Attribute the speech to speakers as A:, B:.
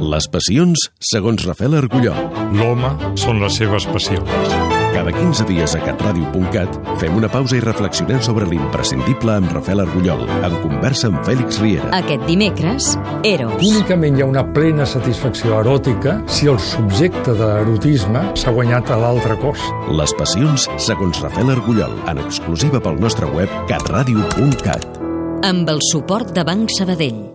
A: les passions segons Rafael Argulló.
B: L'home són les seves passions.
A: Cada 15 dies a catradio.cat fem una pausa i reflexionem sobre l'imprescindible amb Rafael Argullol, en conversa amb Fèlix Riera.
C: Aquest dimecres, Eros.
D: Únicament hi ha una plena satisfacció eròtica si el subjecte de l'erotisme s'ha guanyat a l'altre cos.
A: Les passions segons Rafael Argullol, en exclusiva pel nostre web catradio.cat.
C: Amb el suport de Banc Sabadell.